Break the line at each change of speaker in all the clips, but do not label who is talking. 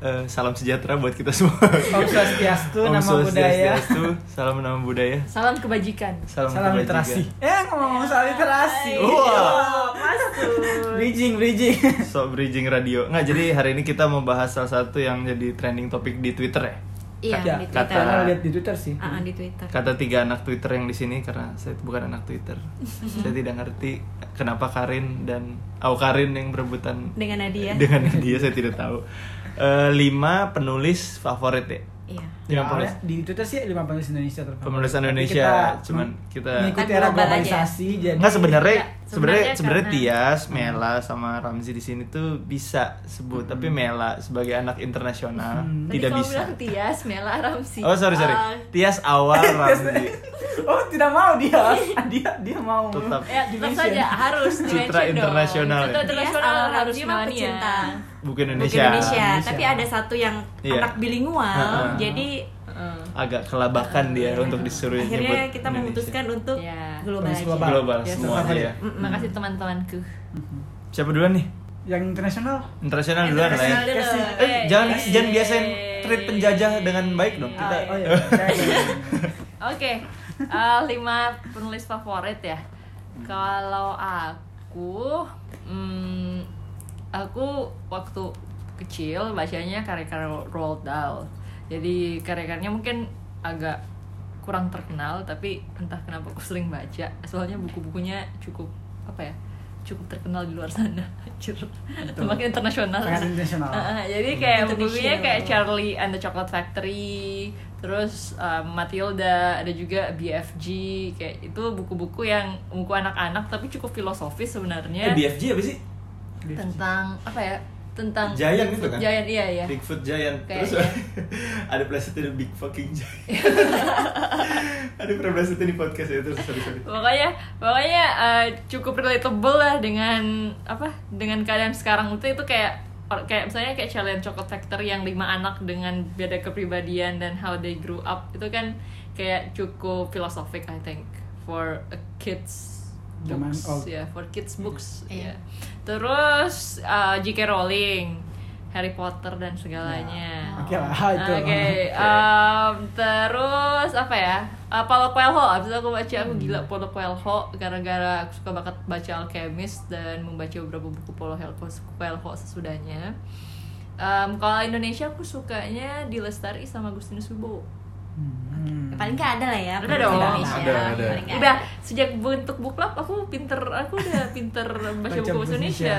eh, salam sejahtera buat kita semua.
Om Swastiastu,
Om
nama budaya.
Swastiastu, salam nama budaya.
Salam kebajikan.
Salam,
Salam
kebajikan.
literasi. Eh, ngomong-ngomong soal
Iya.
literasi.
Hai.
Iya. Wah.
Masuk.
Bridging, bridging.
Iya,
So bridging radio. Nggak, jadi hari ini kita membahas salah satu yang jadi trending topik di Twitter ya.
Iya,
Kata-
di
kata-
Twitter.
Karena lihat di Twitter sih.
Ah, ah, di Twitter.
Kata tiga anak Twitter yang di sini karena saya bukan anak Twitter. saya tidak ngerti kenapa Karin dan Au Karin yang berebutan
Dengan Nadia.
dengan dia saya tidak tahu. Eh, lima penulis favorit ya.
Iya.
Lima penulis
Soalnya di Twitter sih lima penulis Indonesia terfavorit.
Penulis
Tapi
Indonesia,
kita
cuman
meng-
kita-
mengikuti
Kan
era
global aja.
globalisasi
Enggak Iya,
jadi
sebenarnya
Enggak,
sebenarnya
Iya, sebenarnya
sebenarnya
karena-
Tias, Mela sama Ramzi di sini tuh bisa sebut, tapi Mela sebagai anak internasional
Hmm.
Tadi
tidak
kamu
bisa.
bilang Tias, Mela, Ramsi.
Oh sorry sorry,
Ah,
Tias awal Ramzi.
Oh, tidak mau dia. dia dia mau.
Tetap.
ya, tetap
Dimension.
saja harus
Citra
dimention dong.
internasional ya.
Citra internasional
Tias Al
harus
Ramzi mah
Melania.
pecinta.
Bukan
Bukan
Indonesia.
Indonesia,
Indonesia.
tapi ada satu yang
Iya.
anak bilingual.
Ha-ha.
Jadi
Agak kelabakan dia Iya, untuk disuruh
Ah. akhirnya
nyebut
kita
Indonesia.
memutuskan untuk
Iya.
global
Penulis
aja.
global.
global
Tias
semua
terfavorit.
ya.
Mm-mm. Makasih teman-temanku.
Siapa duluan nih?
Mm-hmm. Yang internasional
Oh,
Internasional duluan lah ya.
Internasional dulu.
Kasih.
Eh, jangan
Yeay.
jangan biasain treat penjajah dengan baik dong kita.
Ah,
Eh,
Oh iya, saya-
Oke, eh, lima penulis favorit ya. Kalau aku, hmm, aku waktu kecil bacanya karya-karya Roald Dahl. Jadi karya-karyanya mungkin agak kurang terkenal, tapi entah kenapa aku sering baca. Soalnya buku-bukunya cukup apa ya? Cukup terkenal di luar sana. Anjir. Makin internasional.
Sangat internasional.
Ah, jadi kayak
Indonesia.
bukunya kayak Charlie and the Chocolate Factory, terus um, Matilda, ada juga BFG, kayak itu buku-buku yang buku anak-anak tapi cukup
Eh,
filosofis sebenarnya
BFG apa sih?
tentang apa ya? Tentang
Giant itu kan?
Giant, iya iya.
Bigfoot Giant.
Kayak
Terus
iya.
ada presetnya the Big Fucking Giant. ada pernah presetnya di podcast ya terus sorry sorry.
Pokoknya pokoknya uh, cukup relatable lah dengan apa? Dengan keadaan sekarang itu itu kayak or- kayak misalnya kayak Charlie and Chocolate Factory yang lima anak dengan beda kepribadian dan how they grew up itu kan kayak cukup philosophic I think for a kids
Zaman
books
old.
ya for kids books ya.
Iya.
Terus uh, J.K. Rowling, Harry Potter dan segalanya.
Oke lah,
Ah,
itu.
Oke, em, terus apa ya? Eh, Paulo Coelho, abis itu aku baca aku gila Paulo Coelho gara-gara aku suka banget baca Alchemist dan membaca beberapa buku Paulo Coelho- Coelho sesudahnya. Em, kalau Indonesia aku sukanya di Lestari sama Agustinus Wibowo.
Hmm.
Paling nggak ada lah ya.
Ada
penulis
dong.
Indonesia.
Ada, ada.
Paling nggak
Udah sejak bentuk buklap aku pinter aku udah pinter baca, buku Indonesia.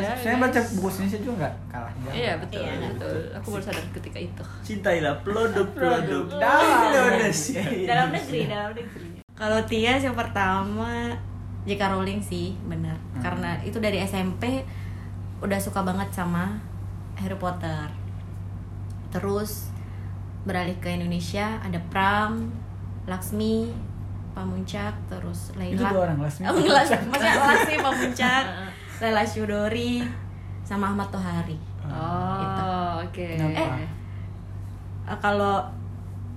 Iya,
ya.
Saya
guys.
baca buku Indonesia juga nggak kalah. jauh.
Iya betul,
Iya,
betul. Aku baru sadar ketika itu.
Cintailah produk-produk
Iya.
Dalam.
Indonesia.
dalam negeri dalam negeri
Iya.
kalau Tias yang pertama J.K. Rowling sih benar
Hmm.
karena itu dari SMP udah suka banget sama Harry Potter terus beralih ke Indonesia ada Pram Laksmi Pamuncak terus
Itu
Laila
dua orang Lasmi.
Oh, enggak, Laksmi. maksudnya Laksmi Pamuncak Laila Syudori sama Ahmad Tohari
Oh, oke.
Kenapa?
Eh,
Eh, kalau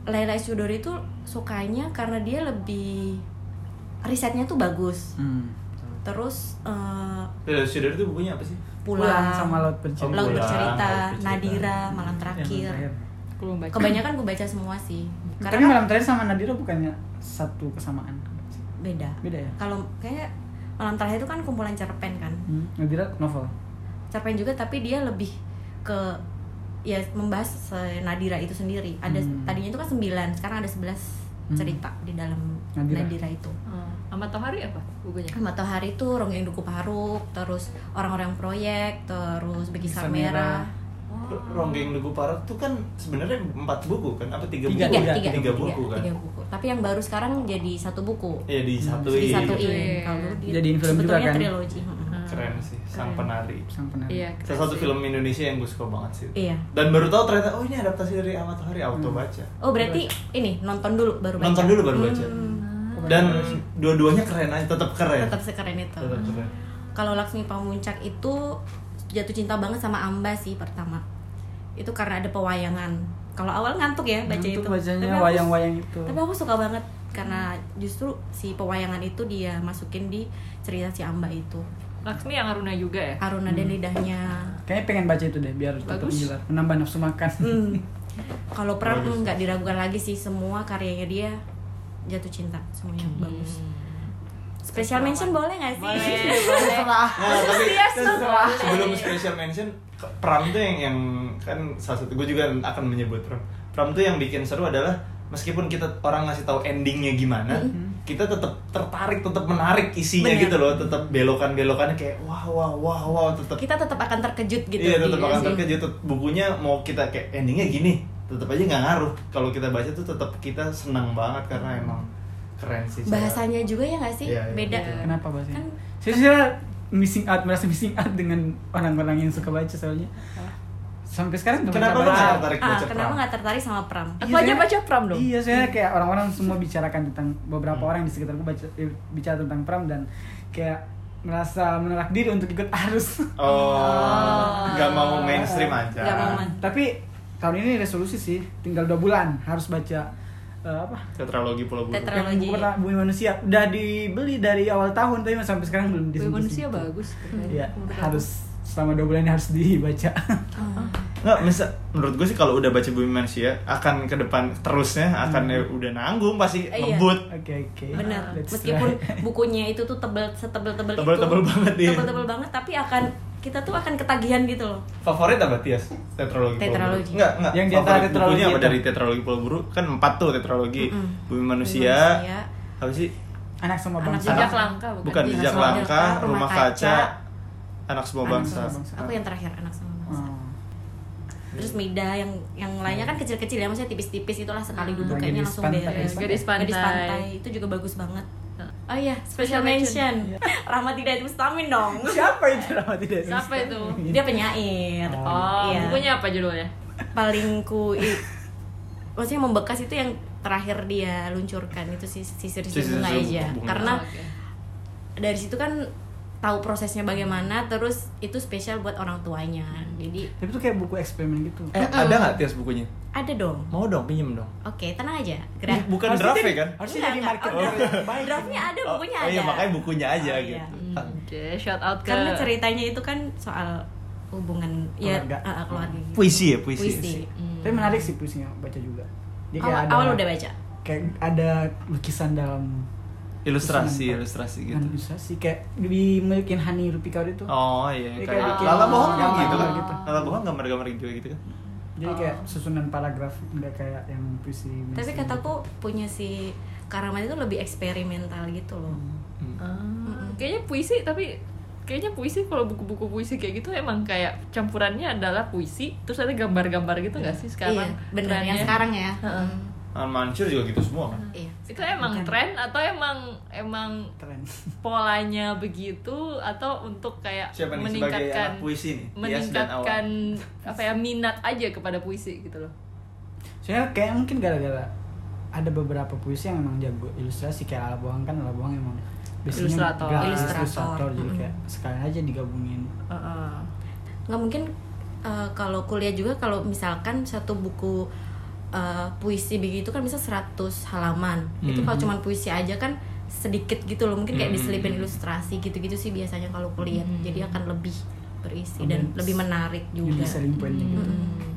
Laila Sudori itu sukanya karena dia lebih risetnya tuh bagus
Hmm.
terus eh,
Terus Sudar itu bukunya apa sih?
pulang, Oh,
Pulang sama Laut Bercerita.
Laut
Pulang,
Bercerita,
Laut Bercerita.
Nadira malam
Yang
terakhir
terakhir.
aku belum baca.
kebanyakan gue baca semua sih
Tapi
karena
malam terakhir sama Nadira bukannya satu kesamaan.
beda
Beda ya?
kalau kayak malam terakhir itu kan kumpulan cerpen kan
Hmm. Nadira novel.
cerpen juga tapi dia lebih ke ya membahas se- Nadira itu sendiri ada
Hmm.
tadinya itu kan 9 sekarang ada 11
Hmm.
cerita di dalam
Nadira.
Nadira itu
Hmm. Sama Tohari apa bukunya?
Ahmad Tohari itu Ronggeng Duku Paruk, terus orang-orang proyek, terus Bekisar
Bekisar
Merah.
Merah.
Oh.
Ronggeng Duku Parok tuh kan sebenarnya empat buku kan? Apa tiga,
Tiga,
buku?
tiga,
Tiga, tiga, tiga,
buku kan?
tiga buku. Tapi yang baru sekarang jadi satu buku. Hmm,
Iya disatuin.
Disatuin.
Iya.
Kalau dulu dia
Jadiin film juga
sebetulnya
kan?
trilogi. Mm-mm.
Keren sih, sang
Ah, Keren.
penari.
Sang penari.
Iya. keren
Salah satu
sih.
film Indonesia yang gue suka banget sih.
Iya.
Dan baru tahu ternyata oh ini adaptasi dari Ahmad Tohari auto baca.
Oh berarti ini nonton dulu baru baca. Hmm,
Nonton dulu baru baca.
Ah.
Dan dua-duanya keren aja, tetap keren.
Tetap sekeren itu.
Iya. Tetap keren.
Kalau Laksmi Pamuncak itu jatuh cinta banget sama Amba sih pertama. Itu karena ada pewayangan. Kalau awal ngantuk ya baca
Ngantuk
itu.
Nah, bacanya
Tapi aku-
wayang-wayang itu.
Tapi aku suka banget karena justru si pewayangan itu dia masukin di cerita si Amba itu.
Laksmi yang Aruna juga ya?
Aruna
Hmm.
dan lidahnya.
Kayaknya pengen baca itu deh biar tetap
Bagus.
gila. Menambah nafsu makan.
Hmm. Kalau perang
Bagus.
hmm, nggak diragukan lagi sih semua karyanya dia jatuh cinta semuanya
Hmm.
bagus.
Hmm.
Special mention boleh nggak sih?
Boleh, boleh.
Nah, tapi
Iya, semua.
sebelum special mention ke- Pram tuh yang, yang kan salah satu gue juga akan menyebut Pram. Pram tuh yang bikin seru adalah meskipun kita orang ngasih tahu endingnya gimana, kita tetap tertarik, tetap menarik isinya
Hmm. Bener.
gitu loh, tetap belokan-belokannya kayak wah wah wah wah tetap
Kita tetap akan terkejut gitu.
iya tetap
Iya
akan
sih.
terkejut Tet- bukunya mau kita kayak endingnya gini tetap aja nggak ngaruh kalau kita baca tuh tetap kita senang banget karena emang keren sih cara-
Hmm. Bahasanya juga ya nggak sih?
Iya, iya.
Beda.
Iya.
Kenapa bahasanya?
Kan-
saya, saya missing out, merasa missing out dengan orang-orang yang suka baca soalnya. Sampai sekarang belum
Kenapa
baca
lu nggak
baca.
tertarik
Ah,
baca
kenapa
Pram?
nggak tertarik sama perang?
Aku
Iya,
aja
saya-
baca Pram dong.
Iya, saya kayak orang-orang semua bicarakan tentang beberapa orang di sekitarku baca eh, bicara tentang pram dan kayak merasa menolak diri untuk ikut arus.
Oh, nggak mau mainstream aja.
Iya,
Nggak mau main.
Tapi tahun ini resolusi sih, tinggal dua bulan harus baca eh, apa?
Tetralogi Pulau Buru.
Tetra-
Yang
Tetralogi.
buku pertama, Bumi Manusia udah dibeli dari awal tahun tapi sampai sekarang belum
Bumi
disentuh.
manusia bagus. keren.
Iya,
Menurut aku.
harus selama dua bulan ini harus dibaca.
Ah.
Nggak, misa- menurut gue sih kalau udah baca Bumi Manusia akan ke depan terusnya akan ya udah nanggung pasti
Hmm. Iya.
ngebut.
Oke oke.
Bener.
Let's
Meskipun
try.
bukunya itu tuh tebel setebel-tebel itu.
Tebel-tebel banget, iya.
Tebel-tebel banget tapi akan kita tuh akan ketagihan gitu loh.
Favorit apa Tias? Tetralogi. Pulau
Tetralogi.
Buru. Nggak, nggak.
Yang di
Favorit
antara tetralogi
bukunya apa
itu?
dari Tetralogi Pulau Buru? Kan empat tuh Tetralogi.
Mm-mm.
Iya. Bumi Manusia.
Manusia.
Apa sih?
Anak sama
Anak
bangsa.
Jejak langka bukan?
Bukan
Anak
Jejak
Semua
Langka,
Jaka,
Rumah
Rumah
Kaca,
Kaca,
Anak Semua
Anak
Bangsa.
Semua Bangsa.
Aku yang terakhir anak sama bangsa.
Oh.
Terus Mida yang yang lainnya kan kecil-kecil ya maksudnya tipis-tipis itulah sekali
Hmm.
Yang
duduk kayaknya
gadis
langsung
pantai.
beres.
Gadis pantai.
itu juga bagus banget. Oh iya,
Special
special mention. Rama tidak Mustamin dong.
Siapa itu Rahmat tidak Iya.
Siapa itu?
Dia penyair.
Oh,
Iya.
bukunya apa judulnya?
paling ku i- maksudnya membekas itu yang terakhir dia luncurkan itu si sisir-sisir
Sisir-sisir
bunga aja
bunga.
karena
Oh, oke.
dari situ kan tahu prosesnya bagaimana terus itu spesial buat orang tuanya
Nah,
jadi
Tapi itu kayak buku eksperimen gitu.
Eh, ada nggak Tias bukunya?
ada dong
Mau dong, pinjem dong.
oke tenang aja gerak
Bukan
Harusnya
draft ya
jadi-
kan?
Harusnya
Enggak,
jadi
enggak.
market.
Oh,
Baik.
draftnya ada
Oh,
bukunya
oh
ada
iya, makanya bukunya aja
Oh,
gitu.
iya.
Hmm, Oke, shout out ke
karena ceritanya itu kan soal hubungan ya
Keluarga. Hmm.
eh, eh, keluarga gitu.
Puisi ya, puisi.
Puisi.
Tapi menarik sih puisinya baca juga. Dia kayak
awal,
ada
awal Hmm. udah baca
kayak ada lukisan dalam
Ilustrasi,
lukisan.
ilustrasi gitu.
Bukan ilustrasi kayak dimiliki Hani Rupika itu.
Oh iya, kayak
Ini gitu. kayak bikin-
Lala Bohong kan
Oh.
gitu kan.
Gitu.
Lala Bohong gambar-gambar juga gitu kan.
Jadi kayak susunan paragraf nggak kayak yang puisi.
Oh. tapi
mainstream.
kataku punya si Karaman itu lebih eksperimental gitu loh
Ah, kayaknya puisi tapi kayaknya puisi kalau buku-buku puisi kayak gitu emang kayak campurannya adalah puisi terus ada gambar-gambar gitu nggak sih sekarang?
iya, benar yang
trennya?
sekarang ya
Heeh.
Al Mansur juga gitu semua kan.
iya
Itu emang
Bukan.
tren atau emang emang
keren.
polanya begitu atau untuk kayak
Siapa nih sebagai
meningkatkan
anak puisi nih? Tias dan
meningkatkan apa ya minat aja kepada puisi gitu loh.
Soalnya kayak mungkin gara-gara ada beberapa puisi yang emang jago ilustrasi kayak Ala Bohang kan Ala Bohang emang biasanya
Ilustrator.
grafis,
Ilustrator.
ilustrator jadi
Mm-mm.
kayak sekalian aja digabungin
Ah,
Heeh.
nggak mungkin eh, kalau kuliah juga kalau misalkan satu buku eh, puisi begitu kan bisa 100 halaman itu
Hmm.
kalau
Mhm.
cuman puisi aja kan sedikit gitu loh mungkin
Mhm.
kayak diselipin ilustrasi gitu-gitu sih biasanya kalau kuliah
Mhm.
jadi akan lebih berisi
Lebih-
dan lebih menarik
jadi
juga
selling pointnya gitu.
Mm-mm.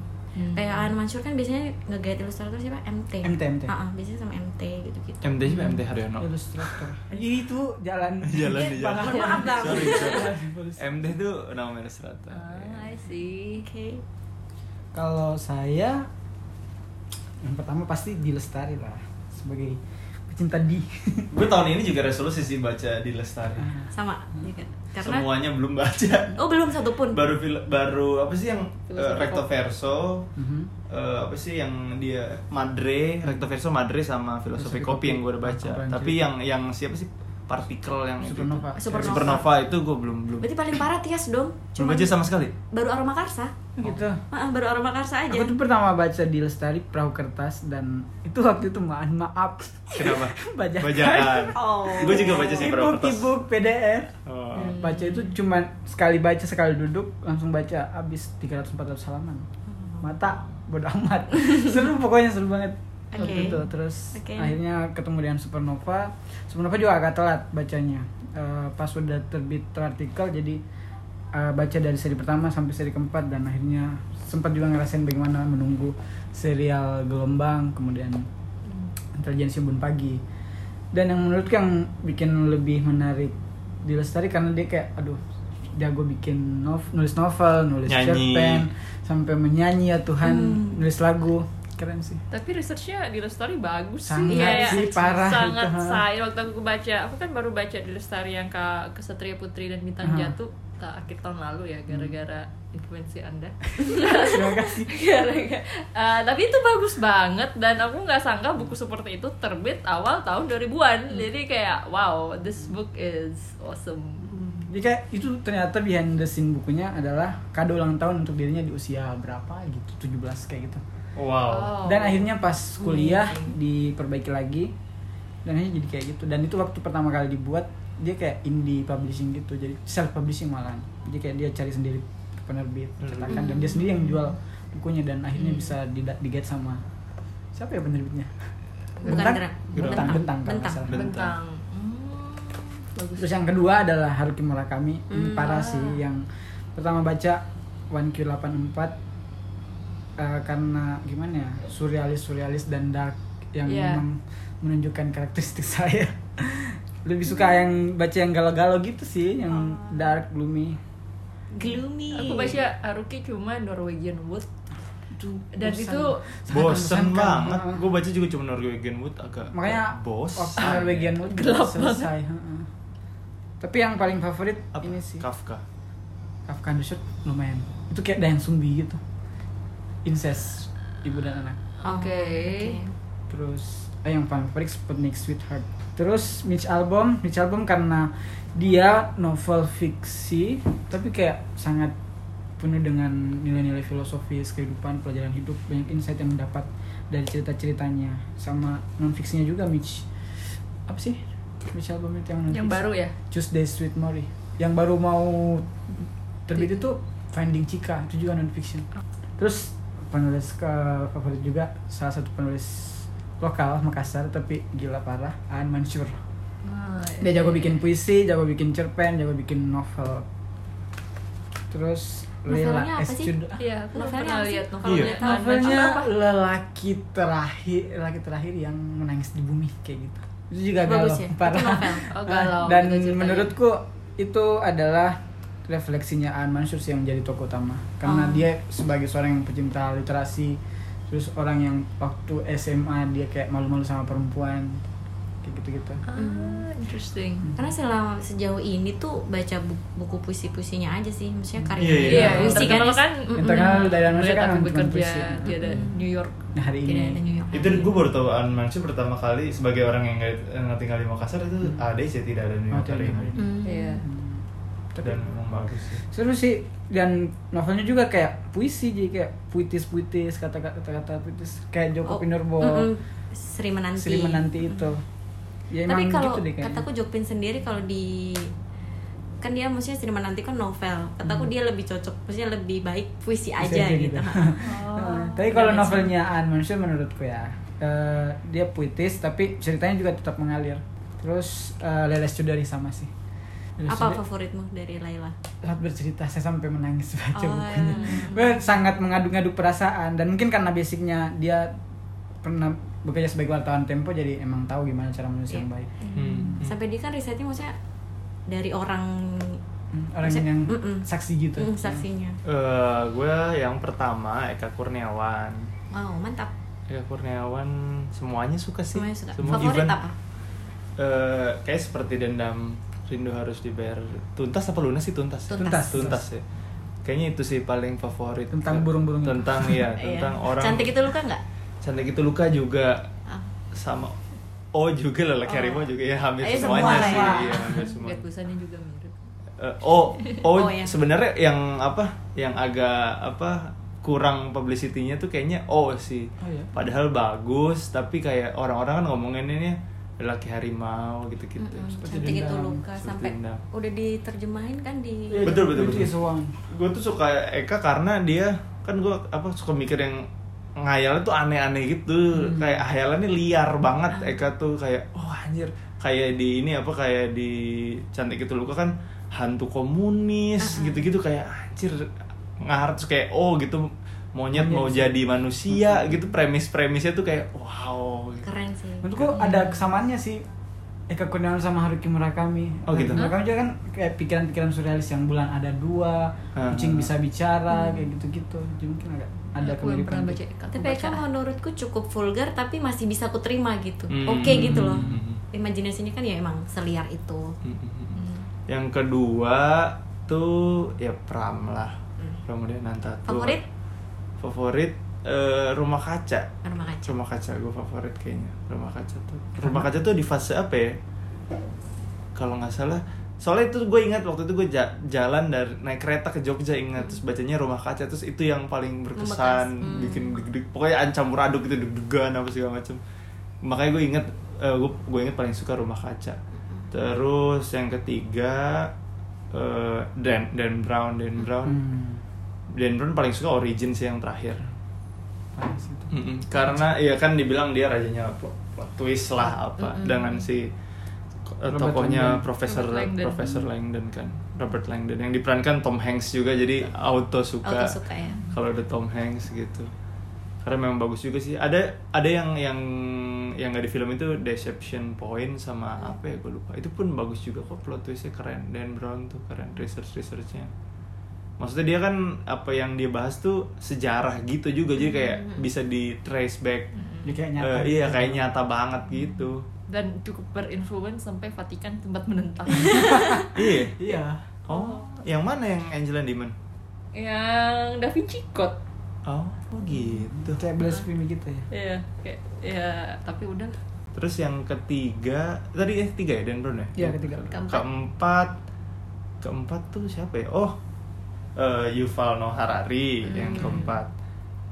Hmm.
kayak Aan Mansur kan biasanya nge-guide ilustrator siapa MT
MT, MT.
Ah, ah, biasanya sama MT gitu-gitu
MT siapa? MT Haryono.
Ilustrator. itu jalan
Jalan di jalan.
Malah-
Mohon gitu, Eh, maaf bang oke
Sorry, sorry. MT itu nama iya. ilustrator.
Ah, I see.
Kalau saya yang pertama pasti di Lestari lah sebagai pecinta di.
Gue tahun ini juga resolusi sih baca di Lestari.
sama juga karena
Semuanya belum baca.
oh belum satu pun
Baru fil- baru apa sih yang eh,
Filosofi
recto
pop.
verso?
Mhm.
eh, apa sih yang dia Madre, recto verso Madre sama filosofi
Filosofi
kopi yang gue udah
Kopi.
baca.
Apaan
Tapi
sih?
yang yang siapa sih partikel yang itu?
Supernova.
Supernova.
Supernova itu gue belum belum.
berarti paling parah Tias dong
Belum
Cuman-
baca sama sekali.
baru aroma karsa
Gitu.
Ah, baru aroma karsa aja
Aku tuh pertama baca di Lestari perahu kertas dan itu waktu itu maaf maaf
Kenapa?
Bajakan.
oh
Gue juga baca sih perahu
ibu
kertas.
ibu PDF.
Oh.
Baca itu cuman sekali baca sekali duduk langsung baca habis 300-400 halaman. Mata bodo amat. seru pokoknya seru banget. Waktu
Oke.
itu terus
Oke.
akhirnya ketemu dengan Supernova. Supernova juga agak telat bacanya. eh, pas sudah terbit artikel jadi eh, baca dari seri pertama sampai seri keempat dan akhirnya sempat juga ngerasain bagaimana menunggu serial gelombang kemudian intelijensi Bun Pagi dan yang menurutku yang bikin lebih menarik di Lestari karena dia kayak aduh jago bikin nov- nulis novel nulis
Nyanyi.
cerpen sampai menyanyi ya Tuhan nulis lagu keren sih
Tapi researchnya di Lestari bagus sih.
Sangat
Kayak
sih, parah
Sangat
itu, ha.
saya waktu aku baca, aku kan baru baca di Lestari yang ke Kesatria Putri dan
Ha.
Bintang
Hmm.
Jatuh tak akhir tahun lalu ya gara-gara influensi Anda.
terima kasih
Gara-gara- Eh, tapi itu bagus banget dan aku nggak sangka buku seperti itu terbit awal tahun 2000-an.
Hmm.
Jadi kayak wow, this book is awesome.
Jadi kayak itu ternyata behind the scene bukunya adalah kado ulang tahun untuk dirinya di usia berapa gitu 17 kayak gitu
Wow.
Oh.
dan akhirnya pas kuliah diperbaiki lagi dan akhirnya jadi kayak gitu dan itu waktu pertama kali dibuat dia kayak indie publishing gitu jadi self publishing malah jadi kayak dia cari sendiri penerbit cetakan dan dia sendiri yang jual bukunya dan akhirnya bisa di diget sama siapa ya penerbitnya
Bukan
Bentang?
Gerak.
bentang
Bentang.
bentang kalau nggak
Bentang.
salah.
Bentang. Hmm, bagus.
Terus yang kedua adalah Haruki Murakami. Ini
Hmm.
parah sih yang pertama baca 1Q84 eh, karena gimana ya? Surrealis-surrealis dan dark yang
Iya.
memang menunjukkan karakteristik saya. Lebih suka yang baca yang galau-galau gitu sih, yang
Oh.
dark gloomy.
gloomy
Aku baca Haruki cuma Norwegian Wood dan
Bosan.
itu
Sangat
Bosen
membosankan.
banget.
Heeh.
Gue baca juga cuma Norwegian Wood agak
Makanya waktu
bosan.
Norwegian Wood
Gelap
selesai. heeh. Tapi yang paling favorit
Apa?
ini sih.
Kafka.
Kafka and the Shot lumayan itu kayak Dayang Sumbi gitu incest ibu dan anak
Oh,
Oke.
terus eh, yang paling favorit Sputnik Sweetheart terus Mitch Albom Mitch Albom karena dia novel fiksi tapi kayak sangat penuh dengan nilai-nilai filosofis kehidupan pelajaran hidup banyak insight yang mendapat dari cerita-ceritanya sama non fiksinya juga Mitch apa sih Mitch Albom itu yang non
yang baru ya.
Tuesday Sweet Mori yang baru mau terbit itu Finding Chica itu juga non fiction terus penulis ke favorit juga salah satu penulis lokal Makassar tapi gila parah Aan Mansur
Nah,
dia jago
iya.
bikin puisi jago bikin cerpen jago bikin novel terus Lela
Novelnya apa sih?
Estudo-
Iya, aku belum
Novelnya
pernah
apa sih?
lihat
Iya.
novelnya. Tahan,
novelnya
apa?
lelaki terakhir lelaki terakhir yang menangis di bumi kayak gitu itu juga
Bagus
galau
ya? Itu
parah
novel?
Oh,
Ah,
galau,
Nah, dan
gitu ceritanya.
menurutku itu adalah refleksinya Aan Mansur sih yang menjadi tokoh utama karena
Oh.
dia sebagai seorang yang pecinta literasi terus orang yang waktu SMA dia kayak malu-malu sama perempuan kayak gitu-gitu
Ah, interesting.
karena selama sejauh ini tuh baca bu- buku puisi-puisinya aja sih
Hmm.
maksudnya karya
Iya,
Iya,
yang
puisi kan
terkenal kan.
Mm-mm.
Yang terkenal dari Indonesia
Melihat
kan
aku
cuma
bekerja
puisi.
di ada New York. Iya.
nah hari
Tidak ada
ini
New York
Itu gue baru tahu An Mansur pertama kali sebagai orang yang nggak- nggak tinggal di Makassar itu ada sih tidak ada di
Oh,
Makassar
tidak ada.
ini.
Hmm.
Iya.
Dan memang bagus sih.
seru sih dan novelnya juga kayak puisi jadi kayak puitis-puitis kata-kata puitis kayak Joko
Oh,
Pinurbo
mm-mm. Sri menanti
Sri menanti itu ya
tapi
emang
kalau
gitu deh kayaknya
kataku Jokpin sendiri kalau di kan dia maksudnya Sri menanti kan novel kataku dia lebih cocok maksudnya lebih baik puisi
Bisa Hmm.
aja
aja
gitu,
Nah, tapi kalau novelnya Aan Mansur menurutku ya eh, dia puitis tapi ceritanya juga tetap mengalir. Terus eh, Lele Sudari sama sih. Lele
apa
Sudari
favoritmu dari Laila
sangat bercerita saya sampai menangis baca
Oh,
bukunya.
iya.
Gue sangat mengadu-ngadu perasaan dan mungkin karena basicnya dia pernah bekerja sebagai wartawan Tempo jadi emang tahu gimana cara menulis yang
Iya.
baik.
Hmm.
sampai dia kan risetnya maksudnya dari orang
Hmm, Orang
Maksudnya,
yang
mm-mm.
saksi gitu.
mm, saksinya
Eh, gue yang pertama Eka Kurniawan.
wow mantap
Eka Kurniawan semuanya suka sih.
semuanya suka
Semua even,
favorit apa
eh, kayak seperti dendam rindu harus dibayar tuntas apa lunas sih tuntas
Tuntas.
tuntas, ya. kayaknya itu sih paling favorit
Tentang burung-burung itu.
tentang iya
Iya.
tentang orang
cantik itu luka nggak
cantik itu Gitu luka juga
Ah.
sama oh juga lelaki harimau juga ya hampir
Eh, semua
semuanya
lah
sih
ya.
iya hampir semua
Gatusannya juga mirip.
Eh, oh oh,
Oh, iya.
sebenarnya yang apa yang agak apa kurang publicity-nya tuh kayaknya oh sih
Oh, iya.
padahal bagus tapi kayak orang-orang kan ngomonginnya lelaki harimau gitu-gitu
Mm-mm,
Seperti
cantik itu
dendam,
luka
Gitu, seperti
sampai
dendam.
udah diterjemahin kan di
Betul, betul, betul.
Beauty is a Woman.
gue tuh suka Eka karena dia kan gue apa suka mikir yang
Hmm.
ngayalnya tuh aneh-aneh gitu kayak hayalannya liar banget Eka tuh kayak oh anjir kayak di ini apa kayak di cantik itu luka kan hantu komunis gitu-gitu kayak anjir ngarep terus kayak oh gitu monyet mau jadi manusia gitu premis-premisnya tuh kayak wow gitu.
Hmm. keren sih
Menurutku ada kesamaannya sih Eka Kurniawan sama Haruki Murakami.
Oh, gitu.
Haruki Murakami juga kan kayak pikiran-pikiran surrealis yang bulan ada dua,
Hmm.
kucing bisa bicara, kayak gitu-gitu. Jadi mungkin agak ada
Hmm. Aku belum
kemiripan.
pernah
gitu.
baca Eka. Aku
tapi
baca.
Eka menurutku cukup vulgar tapi masih bisa aku terima gitu
Hmm.
oke gitu loh
Hmm.
imajinasinya kan ya emang seliar itu
Hmm.
yang kedua tuh ya pram lah kemudian nanta tuh
Favorit?
favorit eh, rumah kaca
rumah kaca
rumah kaca gue favorit kayaknya rumah kaca tuh rumah kaca tuh di fase apa ya kalau nggak salah soalnya itu gue ingat waktu itu gue ja- jalan dari naik kereta ke Jogja ingat terus bacanya rumah kaca terus itu yang paling berkesan
Membekas, hmm.
bikin deg-deg pokoknya ancampur aduk gitu deg-degan apa segala macem makanya gue ingat eh, gue gue ingat paling suka rumah kaca terus yang ketiga eh, Dan Dan Brown Dan Brown
Hmm.
Dan Brown paling suka Origins yang terakhir
Paling situ.
Mm-mm, karena ya kan dibilang dia rajanya plot, plot twist lah apa dengan si eh,
Robert
tokohnya
Langdon.
Profesor
Robert Langdon.
Profesor Langdon kan Robert Langdon yang diperankan Tom Hanks juga jadi auto suka,
Auto suka ya.
kalau ada Tom Hanks gitu karena memang bagus juga sih ada ada yang yang yang nggak di film itu Deception Point sama
Hmm.
apa ya gue lupa itu pun bagus juga kok plot twistnya keren Dan Brown tuh keren research researchnya maksudnya dia kan apa yang dia bahas tuh sejarah gitu juga jadi kayak
Hmm.
bisa di trace back
Jadi kayak nyata.
Eh, iya kayak nyata banget gitu
Dan cukup berinfluence sampai Vatikan tempat menentang.
iya
Iya.
oh yang mana yang Angela Diamond
yang Da Vinci Code.
oh oh gitu
Kayak blasphemy gitu ya.
Iya, kayak ya tapi udah
terus yang ketiga tadi eh tiga ya Dan Brown ya
Iya, ketiga.
keempat keempat, Keempat tuh siapa ya oh eh, Yuval Noah Harari yang keempat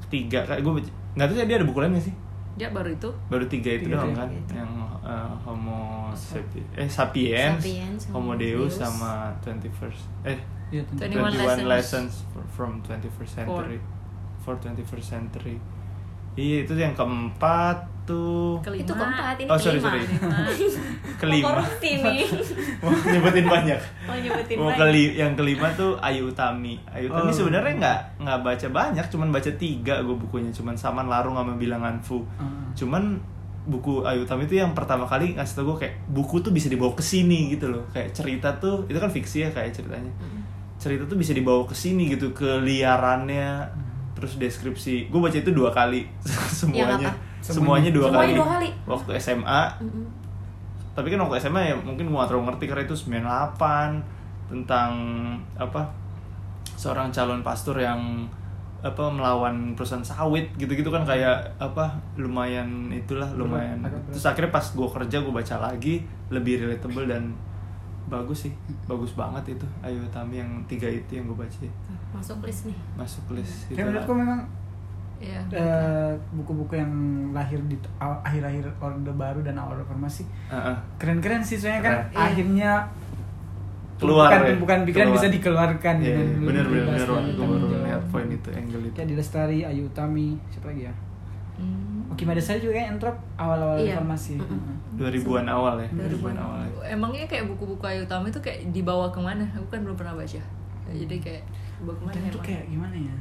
tiga kayak gue nggak tahu sih dia ada buku lain nggak sih
dia baru itu
baru tiga itu
Tiga,
doang
tiga,
kan
tiga.
yang uh, homo sapi eh sapiens,
Sapiens,
homo
Homo
deus
Deus.
sama 21st eh
Iya, tentu.
21 lessons,
21 lessons
from 21st century for 21st century iya itu yang keempat tuh
kelima.
itu keempat ini
Oh, sorry,
kelima
sorry.
Kelima.
Mau
kelima
korupsi nih
mau nyebutin banyak
mau nyebutin
mau
banyak.
keli yang kelima tuh Ayu Utami Ayu Utami
Oh.
sebenarnya nggak nggak baca banyak cuman baca tiga gue bukunya cuman Saman Larung sama Bilangan Fu
Ah.
cuman buku Ayu Utami itu yang pertama kali ngasih tau gue kayak buku tuh bisa dibawa ke sini gitu loh kayak cerita tuh itu kan fiksi ya kayak ceritanya cerita tuh bisa dibawa ke sini gitu ke liarannya terus deskripsi gue baca itu dua kali semuanya
apa?
semuanya dua
Semuanya
kali
dua kali.
waktu SMA
Mm-mm.
tapi kan waktu SMA ya mungkin gua nggak terlalu ngerti karena itu 98 tentang apa seorang calon pastor yang apa melawan perusahaan sawit gitu-gitu kan kayak apa lumayan itulah lumayan
agak berat.
terus akhirnya pas gua kerja gua baca lagi lebih relatable dan bagus sih bagus banget itu Ayu Utami yang tiga itu yang gua baca
masuk list nih
masuk list itu
Kayak Ya, menurutku memang
Iya.
eh, buku-buku yang lahir di t- aw- akhir-akhir Orde Baru dan awal reformasi
Heeh.
keren-keren sih soalnya kan
Keren.
Iya.
akhirnya
Keluar
tumpukan,
ya,
tumpukan pikiran
keluar.
bisa dikeluarkan
Iya,
kan dengan
iya, bener bener
bebas
bener
dan
Wan. Gua baru
tanggung
lihat
jawab.
poin itu angle itu
ya di Lestari Ayu Utami siapa lagi ya
Hmm.
Oke Madasari juga yang entrop awal-awal
Iya.
reformasi
Mm-mm.
Heeh.
2000-an awal ya
2000-an
awal ya.
Emangnya kayak buku-buku Ayu Utami itu kayak dibawa kemana? Aku kan belum pernah baca. Ya, Jadi kayak dibawa kemana?
Dan itu
emang?
kayak gimana ya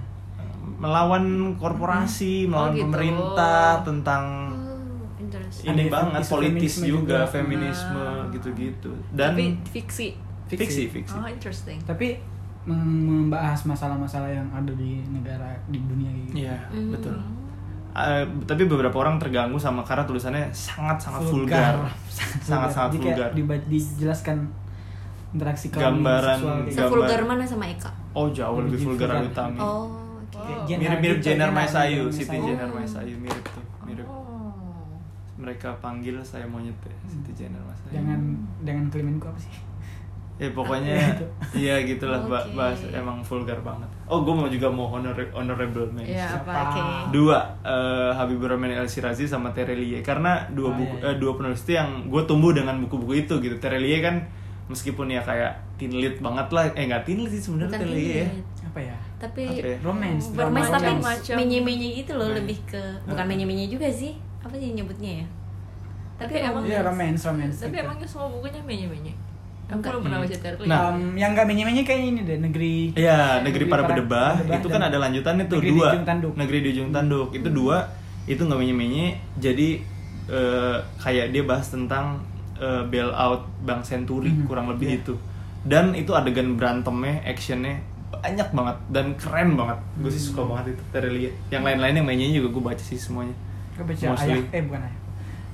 melawan korporasi, melawan
Oh, gitu.
pemerintah, tentang
oh interesting
ini
Ada
banget
isu
politis
feminisme
juga,
juga.
feminisme
Ah.
gitu-gitu. Dan
Tapi fiksi.
fiksi, fiksi.
Oh, interesting.
tapi mem- membahas masalah-masalah yang ada di negara di dunia kayak gitu
Iya,
Hmm.
betul. Eh, tapi beberapa orang terganggu sama karena tulisannya sangat-sangat vulgar. Sangat-sangat
Jadi kayak
vulgar.
diba- dijelaskan interaksi kaum
Gambaran-
seksual kayak gitu.
Gambar.
sevulgar mana sama Eka
Oh, jauh lebih
Lebih
vulgar
vulgar.
Utami.
oh oke
Wow.
Kayak
Oh.
Jen
Mirip-mirip
Hargitay,
Jenner
Jen
Masayu,
Hargitay,
Siti
Masayu.
Jenner Masayu mirip tuh, mirip.
Oh.
Mereka panggil saya monyet ya, Siti Jenner Masayu.
dengan dengan kelimanku apa sih
ya pokoknya iya gitulah ba-
Oke.
bahas emang vulgar banget oh gue mau juga mau honor honorable mention
Iya, apa?
Siapa?
Oke.
dua eh, Habibur Rahman El Sirazi sama Terelie karena dua
Ah,
buku
iya, iya.
eh, dua penulis itu yang gue tumbuh dengan buku-buku itu gitu Terelie kan meskipun ya kayak teen lit banget lah eh nggak teen lit sih sebenarnya
bukan
Terelie ya
tinggi
apa ya Oh,
tapi
Apa ya?
romance drama
bermain tapi
romance.
macam-
menye menye gitu loh
Nah.
lebih ke bukan menye menye juga sih apa sih nyebutnya ya
Tapi
Tapi
emang
Iya, romance, romance.
Tapi
gitu.
emangnya semua bukunya menye-menye. Aku
Enggak.
belum pernah baca Terkli.
Nah,
Um, yang gak menye-menye kayaknya ini deh, negeri
Iya, negeri
Negeri
para
Para
bedebah
Bedebah
itu
dan
kan ada lanjutannya tuh
Negeri di
dua.
Ujung Tanduk. Hmm.
Negeri di ujung tanduk itu dua itu nggak menye jadi eh, kayak dia bahas tentang eh, bail out Bank Senturi
Mhm.
kurang lebih
Iya.
itu. Dan itu adegan berantemnya, actionnya banyak banget dan keren banget. Gue sih
Hmm.
suka banget itu dari lihat. Yang lain-lain yang mainnya juga gue baca sih semuanya.
Gue baca
Mostly.
ayah, eh bukan ayah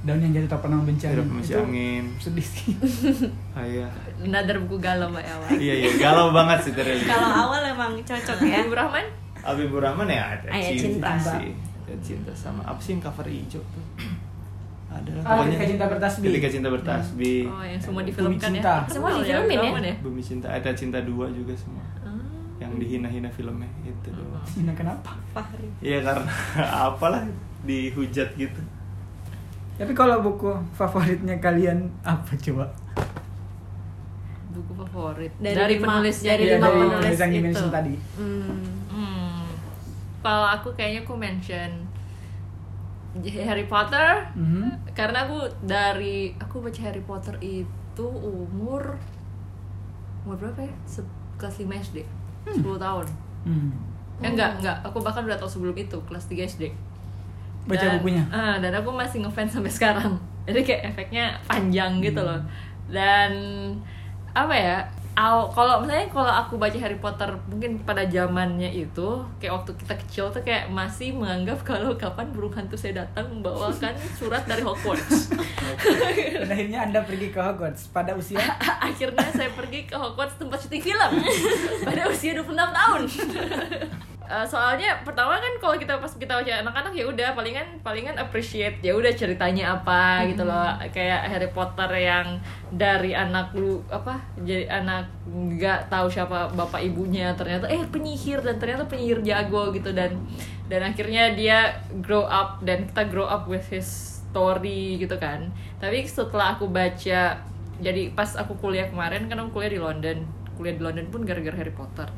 Daun yang jatuh tak pernah membenci
Ada
angin.
pemisi
Itu
angin.
Sedih sih
Ah, iya.
Another buku galau Mbak Ewa.
iya iya galau banget sih dari lihat.
Kalau awal emang cocok ya.
Iya. Ibu Rahman?
Habibur Rahman ya ada
Ayat
cinta,
Cinta.
sih ada cinta sama apa sih yang cover hijau tuh ada lah
Ah, Ketika Cinta Bertasbih.
ketika cinta bertasbih
Oh, yang semua
Ada
film.
difilmkan ya.
Cinta.
Semua
Tahu
difilmin ya?
Rahman
bumi cinta ada cinta dua juga semua
Ah.
yang dihina-hina filmnya itu doang
Nah kenapa?
Fahri.
iya karena apalah dihujat gitu
Tapi kalau buku favoritnya kalian apa coba?
buku favorit
Dari lima-
penulisnya
dari
dia.
Iya,
lima
dari
penulis
penulis yang
itu.
dimention tadi.
Hmm.
Hmm. Kalau aku kayaknya aku mention Harry Potter
Mhm.
karena aku dari aku baca Harry Potter itu umur umur berapa ya? Se- kelas 5 SD. 10 tahun.
Hmm.
Ya enggak, enggak. Aku bahkan udah tahu sebelum itu, kelas 3 SD.
Baca
Dan-
bukunya.
ah, dan aku masih ngefans sampai sekarang. Jadi kayak efeknya panjang gitu loh.
Hmm.
Dan apa ya? aw- Kalau misalnya kalau aku baca Harry Potter mungkin pada zamannya itu kayak waktu kita kecil tuh kayak masih menganggap kalau kapan burung hantu saya datang membawakan surat dari Hogwarts.
Dan akhirnya Anda pergi ke Hogwarts pada usia
Akhirnya saya pergi ke Hogwarts tempat syuting film pada usia 26 tahun. Eh, soalnya pertama kan kalau kita pas kita baca anak-anak ya udah palingan palingan appreciate ya udah ceritanya apa gitu loh kayak Harry Potter yang dari anak lu apa jadi anak nggak tahu siapa bapak ibunya ternyata eh penyihir dan ternyata penyihir jago gitu dan dan akhirnya dia grow up dan kita grow up with his story gitu kan tapi setelah aku baca jadi pas aku kuliah kemarin kan aku kuliah di London kuliah di London pun gara-gara Harry Potter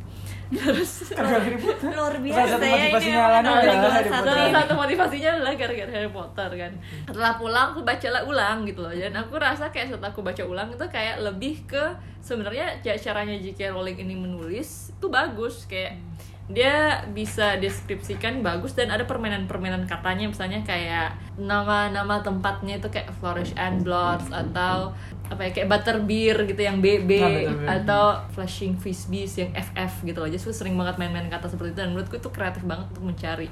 terus
Karena Harry Potter.
Luar
Salah
biasa
satu
ya ini.
motivasinya Alana
Nah,
adalah
salah
Harry
satu,
Potter.
salah satu motivasinya adalah gara-gara Harry Potter kan. Setelah pulang aku bacalah ulang gitu loh. Dan aku rasa kayak setelah aku baca ulang itu kayak lebih ke sebenarnya ca- caranya J.K. Rowling ini menulis itu bagus kayak dia bisa deskripsikan bagus dan ada permainan-permainan katanya misalnya kayak nama-nama tempatnya itu kayak Flourish and Blotts atau apa ya kayak Butterbeer gitu yang BB
Ah, Butterbeer.
atau atau flashing frisbees yang FF gitu loh jadi gue sering banget main-main kata seperti itu dan menurutku itu kreatif banget untuk mencari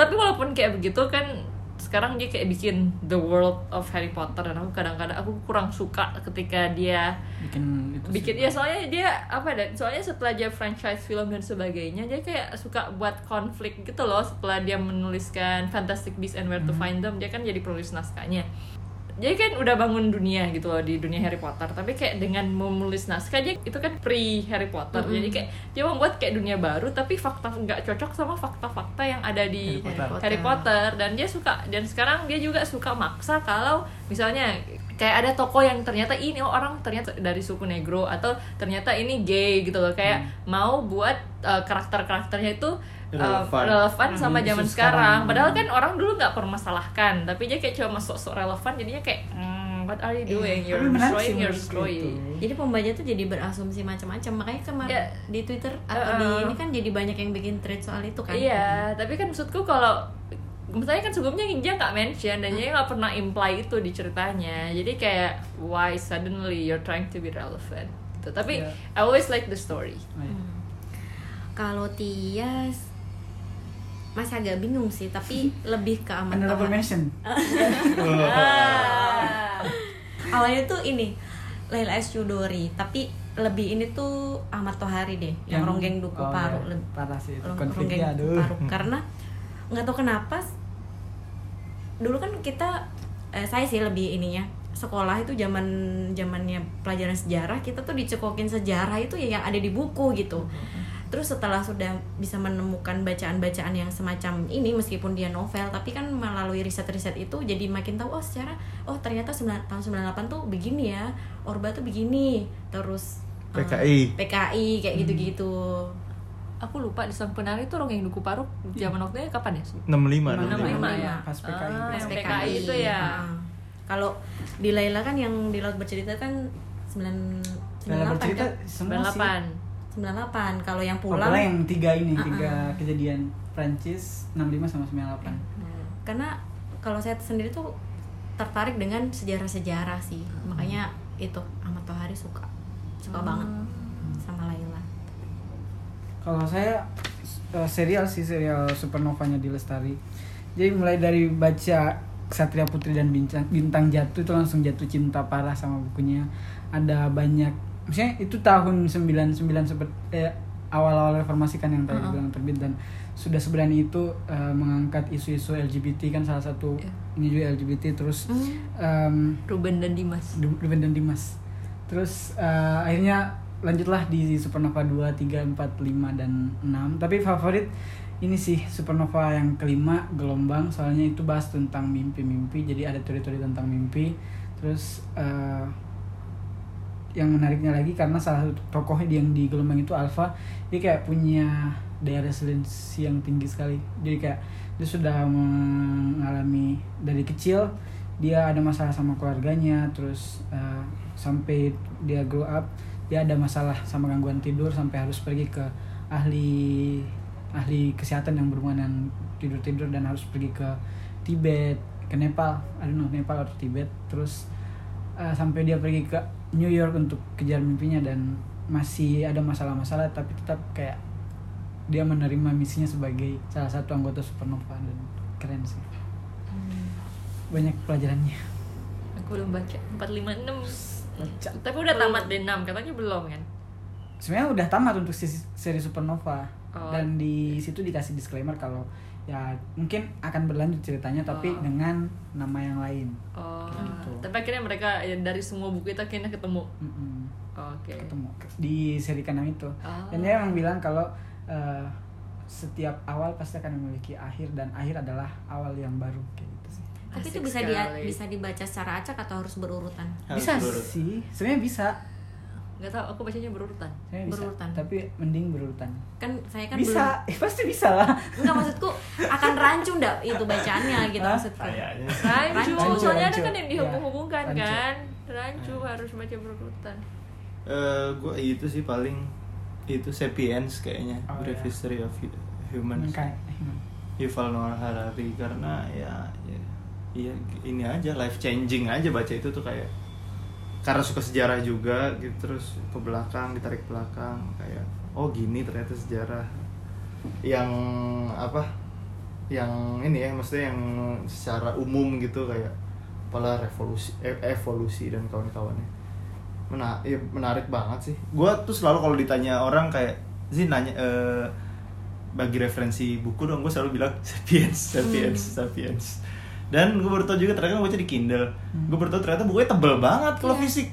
tapi walaupun kayak begitu kan sekarang dia kayak bikin the world of Harry Potter dan aku kadang-kadang aku kurang suka ketika dia
Bikin itu. Gitu sih.
bikin ya
iya.
soalnya dia apa ya, dan soalnya setelah dia franchise film dan sebagainya dia kayak suka buat konflik gitu lour setelah dia menuliskan Fantastic Beasts and Where to
Hmm.
Find Them dia kan jadi penulis naskahnya jadi kan udah bangun dunia gitu loh di dunia Harry Potter tapi kayak dengan menulis naskah dia itu kan pre Harry Potter
Hmm.
jadi kayak dia membuat kayak dunia baru tapi fakta nggak cocok sama fakta-fakta yang ada di
Harry Potter.
Harry Potter dan dia suka dan sekarang dia juga suka maksa kalau misalnya kayak ada toko yang ternyata ini oh, orang ternyata dari suku negro atau ternyata ini gay gitu loh kayak
Hmm.
mau buat uh, karakter-karakternya itu uh,
Relevan.
relevan sama
Hmm,
zaman
isu
sekarang.
sekarang. Hmm.
Padahal kan orang dulu nggak permasalahkan, tapi dia kayak cuma sok-sok relevan jadinya kayak "Hmm, what are you doing? You're
Iya. Tapi menarik sih
destroying your
menurutku
story.
itu.
Jadi pembaca tuh jadi berasumsi macam-macam. Makanya kemarin
Ya.
di Twitter atau di
Uh-uh.
ini kan jadi banyak yang bikin thread soal itu kan.
Iya, tapi kan maksudku kalau misalnya kan sebelumnya dia nggak mention dan dia nggak pernah imply itu di ceritanya. Jadi kayak why suddenly you're trying to be relevant. Gitu. Tapi
Iya.
I always like the story.
Oh, iya.
Kalau Tias masih agak bingung sih, tapi lebih ke aman.
Honorable
aman.
mention.
Ah.
Awalnya tuh ini Laila S. Yudori, tapi lebih ini tuh Ahmad Tohari deh, yang, ronggeng duku
oh,
paru.
iya.
Lebih-
Parah sih itu
Rong-
konfliknya
ronggeng
iya, aduh.
paru. Gitu. karena nggak tahu kenapa s- dulu kan kita eh, saya sih lebih ininya sekolah itu zaman zamannya pelajaran sejarah kita tuh dicekokin sejarah itu ya yang ada di buku gitu terus setelah sudah bisa menemukan bacaan-bacaan yang semacam ini meskipun dia novel tapi kan melalui riset-riset itu jadi makin tahu oh secara oh ternyata 9, tahun 98 tuh begini ya orba tuh begini terus eh,
PKI.
PKI kayak gitu-gitu
Aku lupa di Sang Penari itu Rongeng Duku Paruk zaman waktunya kapan ya?
65
Enam
dong.
lima.
65 ya.
Pas PKI.
Ah,
Pas
yang
PKI.
PKI itu ya.
Ah. Kalau di Laila kan yang di laut bercerita kan 9
Dalam
98
bercerita
kan?
semua sih.
98
98. Kalau yang
Oh,
pulang
Bella yang tiga ini,
Ah,
tiga
ah.
kejadian Prancis 65 sama 98.
Nah, karena kalau saya sendiri tuh tertarik dengan sejarah-sejarah sih
Hmm.
makanya itu Ahmad Tohari suka suka banget sama Laila
Kalau saya eh, serial sih serial Supernovanya di Lestari. Jadi mulai dari baca Satria Putri dan Bintang, Bintang Jatuh itu langsung jatuh cinta parah sama bukunya. Ada banyak maksudnya itu tahun 99 seperti eh, awal-awal reformasi kan yang tadi
Uh-uh.
bilang terbit dan sudah seberani itu eh, mengangkat isu-isu LGBT kan salah satu
Iya.
ini juga LGBT terus
Hmm.
em,
Ruben dan Dimas
Du- Ruben dan Dimas. Terus eh, akhirnya lanjutlah di Supernova 2, 3, 4, 5 dan 6. Tapi favorit ini sih Supernova yang kelima gelombang soalnya itu bahas tentang mimpi-mimpi. Jadi ada teori-teori tentang mimpi. Terus eh, yang menariknya lagi karena salah satu tokoh yang di gelombang itu Alpha dia kayak punya daya resiliensi yang tinggi sekali jadi kayak dia sudah mengalami dari kecil dia ada masalah sama keluarganya terus eh, sampai dia grow up dia ada masalah sama gangguan tidur sampai harus pergi ke ahli ahli kesehatan yang berhubungan dengan tidur tidur dan harus pergi ke Tibet ke Nepal I don't know Nepal atau Tibet terus Uh, sampai dia pergi ke New York untuk kejar mimpinya dan masih ada masalah-masalah tapi tetap kayak dia menerima misinya sebagai salah satu anggota Supernova dan keren sih banyak pelajarannya
aku belum baca 456
Baca.
tapi udah tamat D6 katanya belum kan
sebenarnya udah tamat untuk sesi- seri Supernova
Oh.
dan di situ dikasih disclaimer kalau ya mungkin akan berlanjut ceritanya tapi
Oh.
dengan nama yang lain
oh
Gitu.
tapi akhirnya mereka ya, dari semua buku itu akhirnya ketemu
Mm-mm.
oke
ketemu di seri keenam itu
Ah.
dan dia memang bilang kalau eh, setiap awal pasti akan memiliki akhir dan akhir adalah awal yang baru kayak gitu sih
tapi itu
Asik
bisa dia
sekali.
bisa dibaca secara acak atau harus berurutan
Harus
bisa
berurut.
sih sebenarnya bisa
nggak tahu aku bacanya berurutan
sebenarnya bisa
Berurutan.
tapi mending berurutan
kan saya kan
bisa Eh, pasti bisa lah
belum enggak maksudku akan rancu ndak itu bacaannya gitu
Hah?
maksudku
kayaknya
rancu,
Rancu,
soalnya ada
rancu.
kan yang dihubung-hubungkan
Ya, rancu. Iya.
kan rancu harus baca berurutan
eh gue itu sih paling itu sapiens kayaknya
Oh,
Brief
iya.
History of Hu- Humans
kayak
Yuval Noah Harari karena ya, ya ya ini aja life changing aja baca itu tuh kayak karena suka sejarah juga gitu terus ke belakang ditarik belakang kayak oh gini ternyata sejarah yang apa yang ini ya maksudnya yang secara umum gitu kayak apalah revolusi eh, evolusi dan kawan-kawannya Mena- ya, menarik banget sih gue tuh selalu kalau ditanya orang kayak sih nanya eh, bagi referensi buku dong gue selalu bilang sapiens
Hmm.
sapiens sapiens dan gue baru tau juga ternyata gue baca di Kindle
Hmm.
gue baru tau ternyata bukunya tebel banget kalau
Iya.
fisik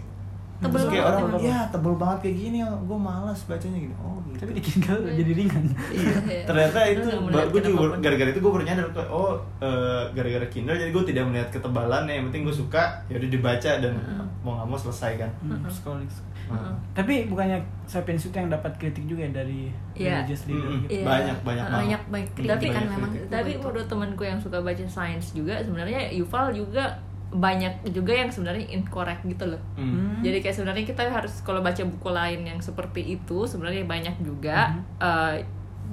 Tebel
Terus kayak
banget
orang
emang.
ya tebel banget kayak gini gue malas bacanya gini oh gitu
tapi di Kindle jadi ringan
Iya.
ternyata
Terus
itu
nggak
gue
melihat
juga
kenapa
baru-
pun.
gara-gara itu gue baru nyadar kayak, oh eh, gara-gara Kindle jadi gue tidak melihat ketebalannya yang penting gue suka ya udah dibaca dan mau nggak mau selesai kan
Hmm, scrolling.
Nah.
tapi bukannya sapiens itu yang dapat kritik juga ya dari
Iya.
religious leader
Mm-mm.
gitu
Iya.
banyak banyak banget
banyak banyak
Tapi-
kritik kan
Banyak
memang
kritik. Hmm.
tapi
buku itu.
menurut temanku yang suka baca sains juga sebenarnya Yuval juga banyak juga yang sebenarnya incorrect gitu loh
Hmm.
Hmm.
Jadi kayak sebenarnya kita harus kalau baca buku lain yang seperti itu sebenarnya banyak juga. Eh,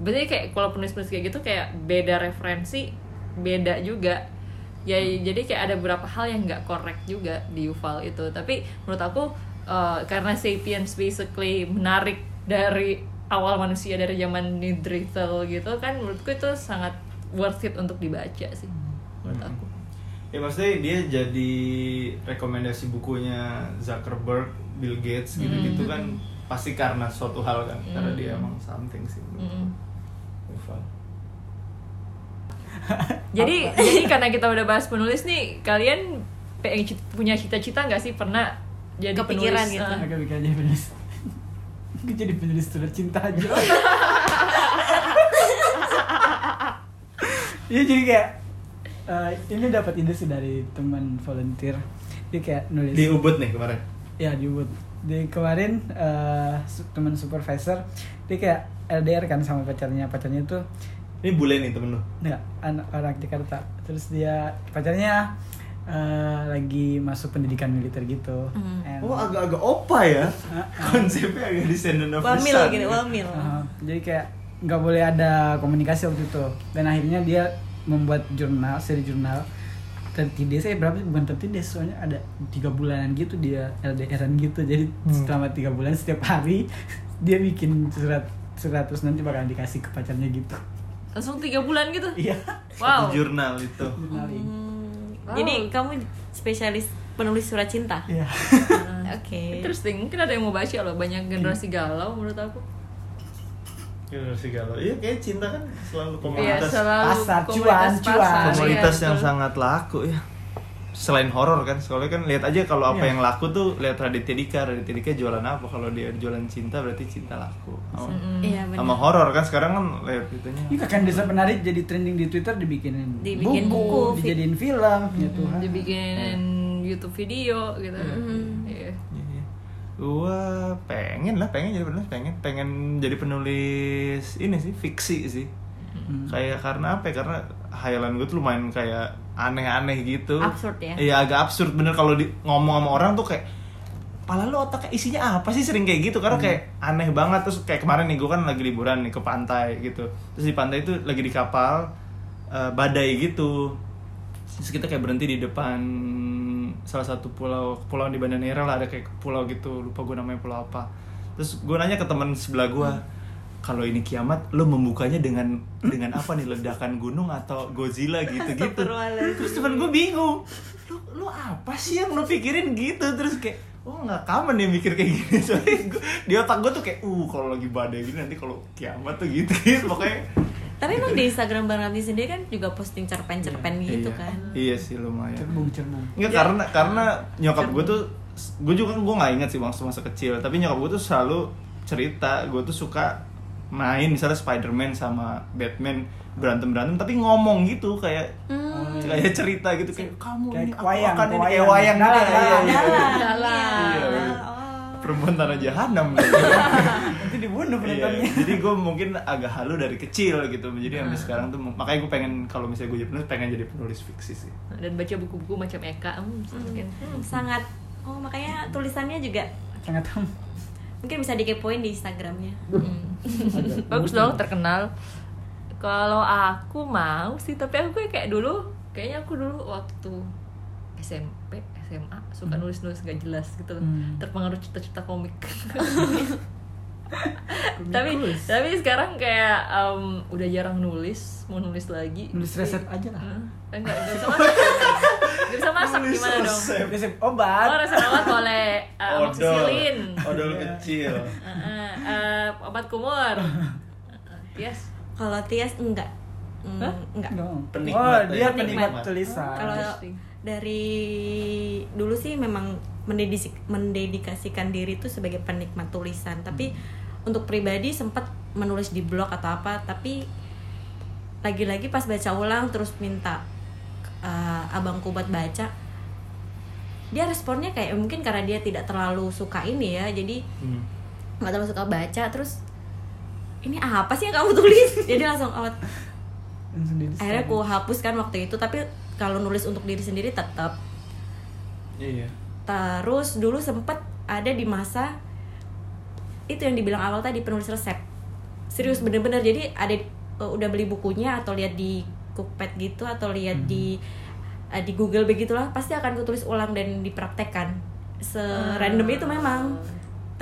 Berarti kayak kalau penulis-penulis kayak gitu kayak beda referensi, beda juga. Ya jadi kayak ada beberapa hal yang nggak korek juga di Yuval itu. Tapi menurut aku eh, karena sapiens basically menarik dari awal manusia dari zaman Neanderthal gitu kan menurutku itu sangat worth it untuk dibaca sih menurut
Hmm.
aku.
ya maksudnya dia jadi rekomendasi bukunya Zuckerberg Bill Gates gitu gitu kan pasti karena suatu hal kan karena dia emang something sih
Mm-mm.
Eva.
Jadi jadi karena kita udah bahas penulis nih, kalian pengen cit- punya cita-cita nggak sih pernah jadi penulis?
Kepikiran gitu.
Eh,
Agak Kan bikin aja penulis Gue jadi penulis surat cinta aja Iya jadi kayak eh, Ini dapat ide sih dari teman volunteer Dia kayak nulis
di Ubud nih kemarin
Ya di Ubud Di kemarin eh, su- teman supervisor Dia kayak LDR kan sama pacarnya Pacarnya tuh
ini bule nih temen lu
Nggak, anak orang Jakarta Terus dia pacarnya eh, lagi masuk pendidikan militer gitu.
Hmm.
And-
Oh agak-agak opa ya
Ah,
Konsepnya agak descendant of the
Wamil
sun
gitu, wamil.
Uh, jadi kayak nggak boleh ada komunikasi waktu itu dan akhirnya dia membuat jurnal seri jurnal 30 days eh berapa sih? bukan 30 days soalnya ada tiga bulanan gitu dia LDRan gitu jadi selama tiga bulan setiap hari dia bikin surat seratus nanti bakal dikasih ke pacarnya gitu
Langsung tiga bulan gitu.
iya
Satu
Wow.
jurnal itu
jurnal ini.
Hmm,
Wow.
Jadi kamu spesialis penulis surat cinta.
iya
Oke.
Interesting. Mungkin ada yang mau baca loh. Banyak generasi galau menurut aku.
Generasi galau Iya kayak cinta kan selalu
Iya,
komunitas
selalu
Pasar,
komunitas
cuan, cuan.
pasar, iya,
Komunitas yang
betul.
sangat laku ya Selain horor kan Soalnya kan lihat aja kalau apa
Iya.
yang laku tuh Lihat Raditya Dika Raditya Dika jualan apa Kalau dia jualan cinta berarti cinta laku Sama,
Iya
sama
benar.
horor kan sekarang kan lihat itunya
ini kakak desa menarik jadi trending di Twitter dibikinin
Dibikin buku, fi-
dijadiin film ya Tuhan
Dibikinin YouTube video gitu. Iya.
Iya, iya. Gua pengen lah, pengen jadi penulis, pengen pengen jadi penulis ini sih fiksi sih.
Hmm.
Kayak karena apa? ya? Karena hayalan gue tuh lumayan kayak aneh-aneh gitu.
Absurd ya?
Iya agak absurd bener kalau di- ngomong sama orang tuh kayak Pala lu otaknya isinya apa sih sering kayak gitu karena
Hmm.
kayak aneh banget terus kayak kemarin nih gue kan lagi liburan nih ke pantai gitu terus di pantai itu lagi di kapal eh, badai gitu terus kita kayak berhenti di depan salah satu pulau pulau di Banda Nera lah ada kayak pulau gitu lupa gue namanya pulau apa terus gue nanya ke teman sebelah gue
Hmm.
kalau ini kiamat lo membukanya dengan dengan apa nih ledakan gunung atau Godzilla gitu gitu
Astagfirullahaladzim.
terus temen gue bingung lu lu apa sih yang lu pikirin gitu terus kayak oh nggak common ya mikir kayak gini soalnya gua- di otak gue tuh kayak uh kalau lagi badai gini nanti kalau kiamat tuh gitu gitu pokoknya
Tapi emang di Instagram Bang Ramzi sendiri kan juga posting cerpen-cerpen gitu
Iya.
kan.
iya sih lumayan
cerbung cerbung
Nggak, karena karena nyokap gue tuh gue juga gue nggak inget sih waktu masa kecil tapi nyokap gue tuh selalu cerita gue tuh suka main misalnya Spider-Man sama Batman berantem berantem tapi ngomong gitu kayak
Hmm.
kayak cerita gitu kayak kamu
Kayak
ini aku
wayang,
akan ini kayak
wayang.
wayang gitu
Dalang,
ya, iya,
dalang,
iya.
Dalam.
Dalam.
Iya.
Iya.
Oh.
perempuan tanah jahanam gitu.
nanti dibunuh
Iya,
penontonnya
jadi gue mungkin agak halu dari kecil gitu jadi sampai sekarang tuh makanya gue pengen kalau misalnya gue jadi penulis pengen jadi penulis fiksi sih
Dan baca buku-buku macam Eka. Hmm, mungkin.
Hmm, sangat oh makanya tulisannya juga
sangat hmm.
mungkin bisa dikepoin di Instagramnya
Hmm. Bagus dong terkenal. Kalau aku mau sih, tapi aku kayak- kayak dulu, kayaknya aku dulu waktu SMP, SMA suka nulis-nulis gak jelas gitu,
Hmm.
terpengaruh cerita-cerita komik. tapi tapi sekarang kayak em, udah jarang nulis, mau nulis lagi.
nulis resep aja lah
Hah? Enggak, gak bisa masak. Gak bisa masak
Nulis
gimana dong?
Hmm. resep.
resep
Oh,
obat
resep obat boleh uh, amoxicillin.
odol kecil
Uh, uh, obat kumur. Yes.
kalau Tias enggak Hmm,
Hah?
enggak
Dong.
Penikmat
oh
ya.
dia
Penikmat.
penikmat tulisan
kalau
Interesting.
dari dulu sih memang mendedisi- mendedikasikan diri itu sebagai penikmat tulisan tapi untuk pribadi sempat menulis di blog atau apa tapi lagi-lagi pas baca ulang terus minta eh, abangku buat baca dia responnya kayak mungkin karena dia tidak terlalu suka ini ya jadi
Hmm.
nggak terlalu suka baca terus ini apa sih yang kamu tulis jadi langsung out
Langsung di-
akhirnya aku hapuskan waktu itu tapi kalau nulis untuk diri sendiri tetap
iya
terus dulu sempet ada di masa itu yang dibilang awal tadi penulis resep serius bener-bener jadi ada eh, udah beli bukunya atau lihat di Cookpad gitu atau lihat di eh, di Google begitulah pasti akan kutulis ulang dan dipraktekkan serandom itu memang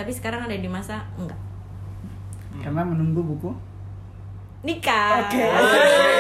tapi sekarang ada di masa enggak
karena menunggu buku
nikah
Oke.
Ah.
Yeay.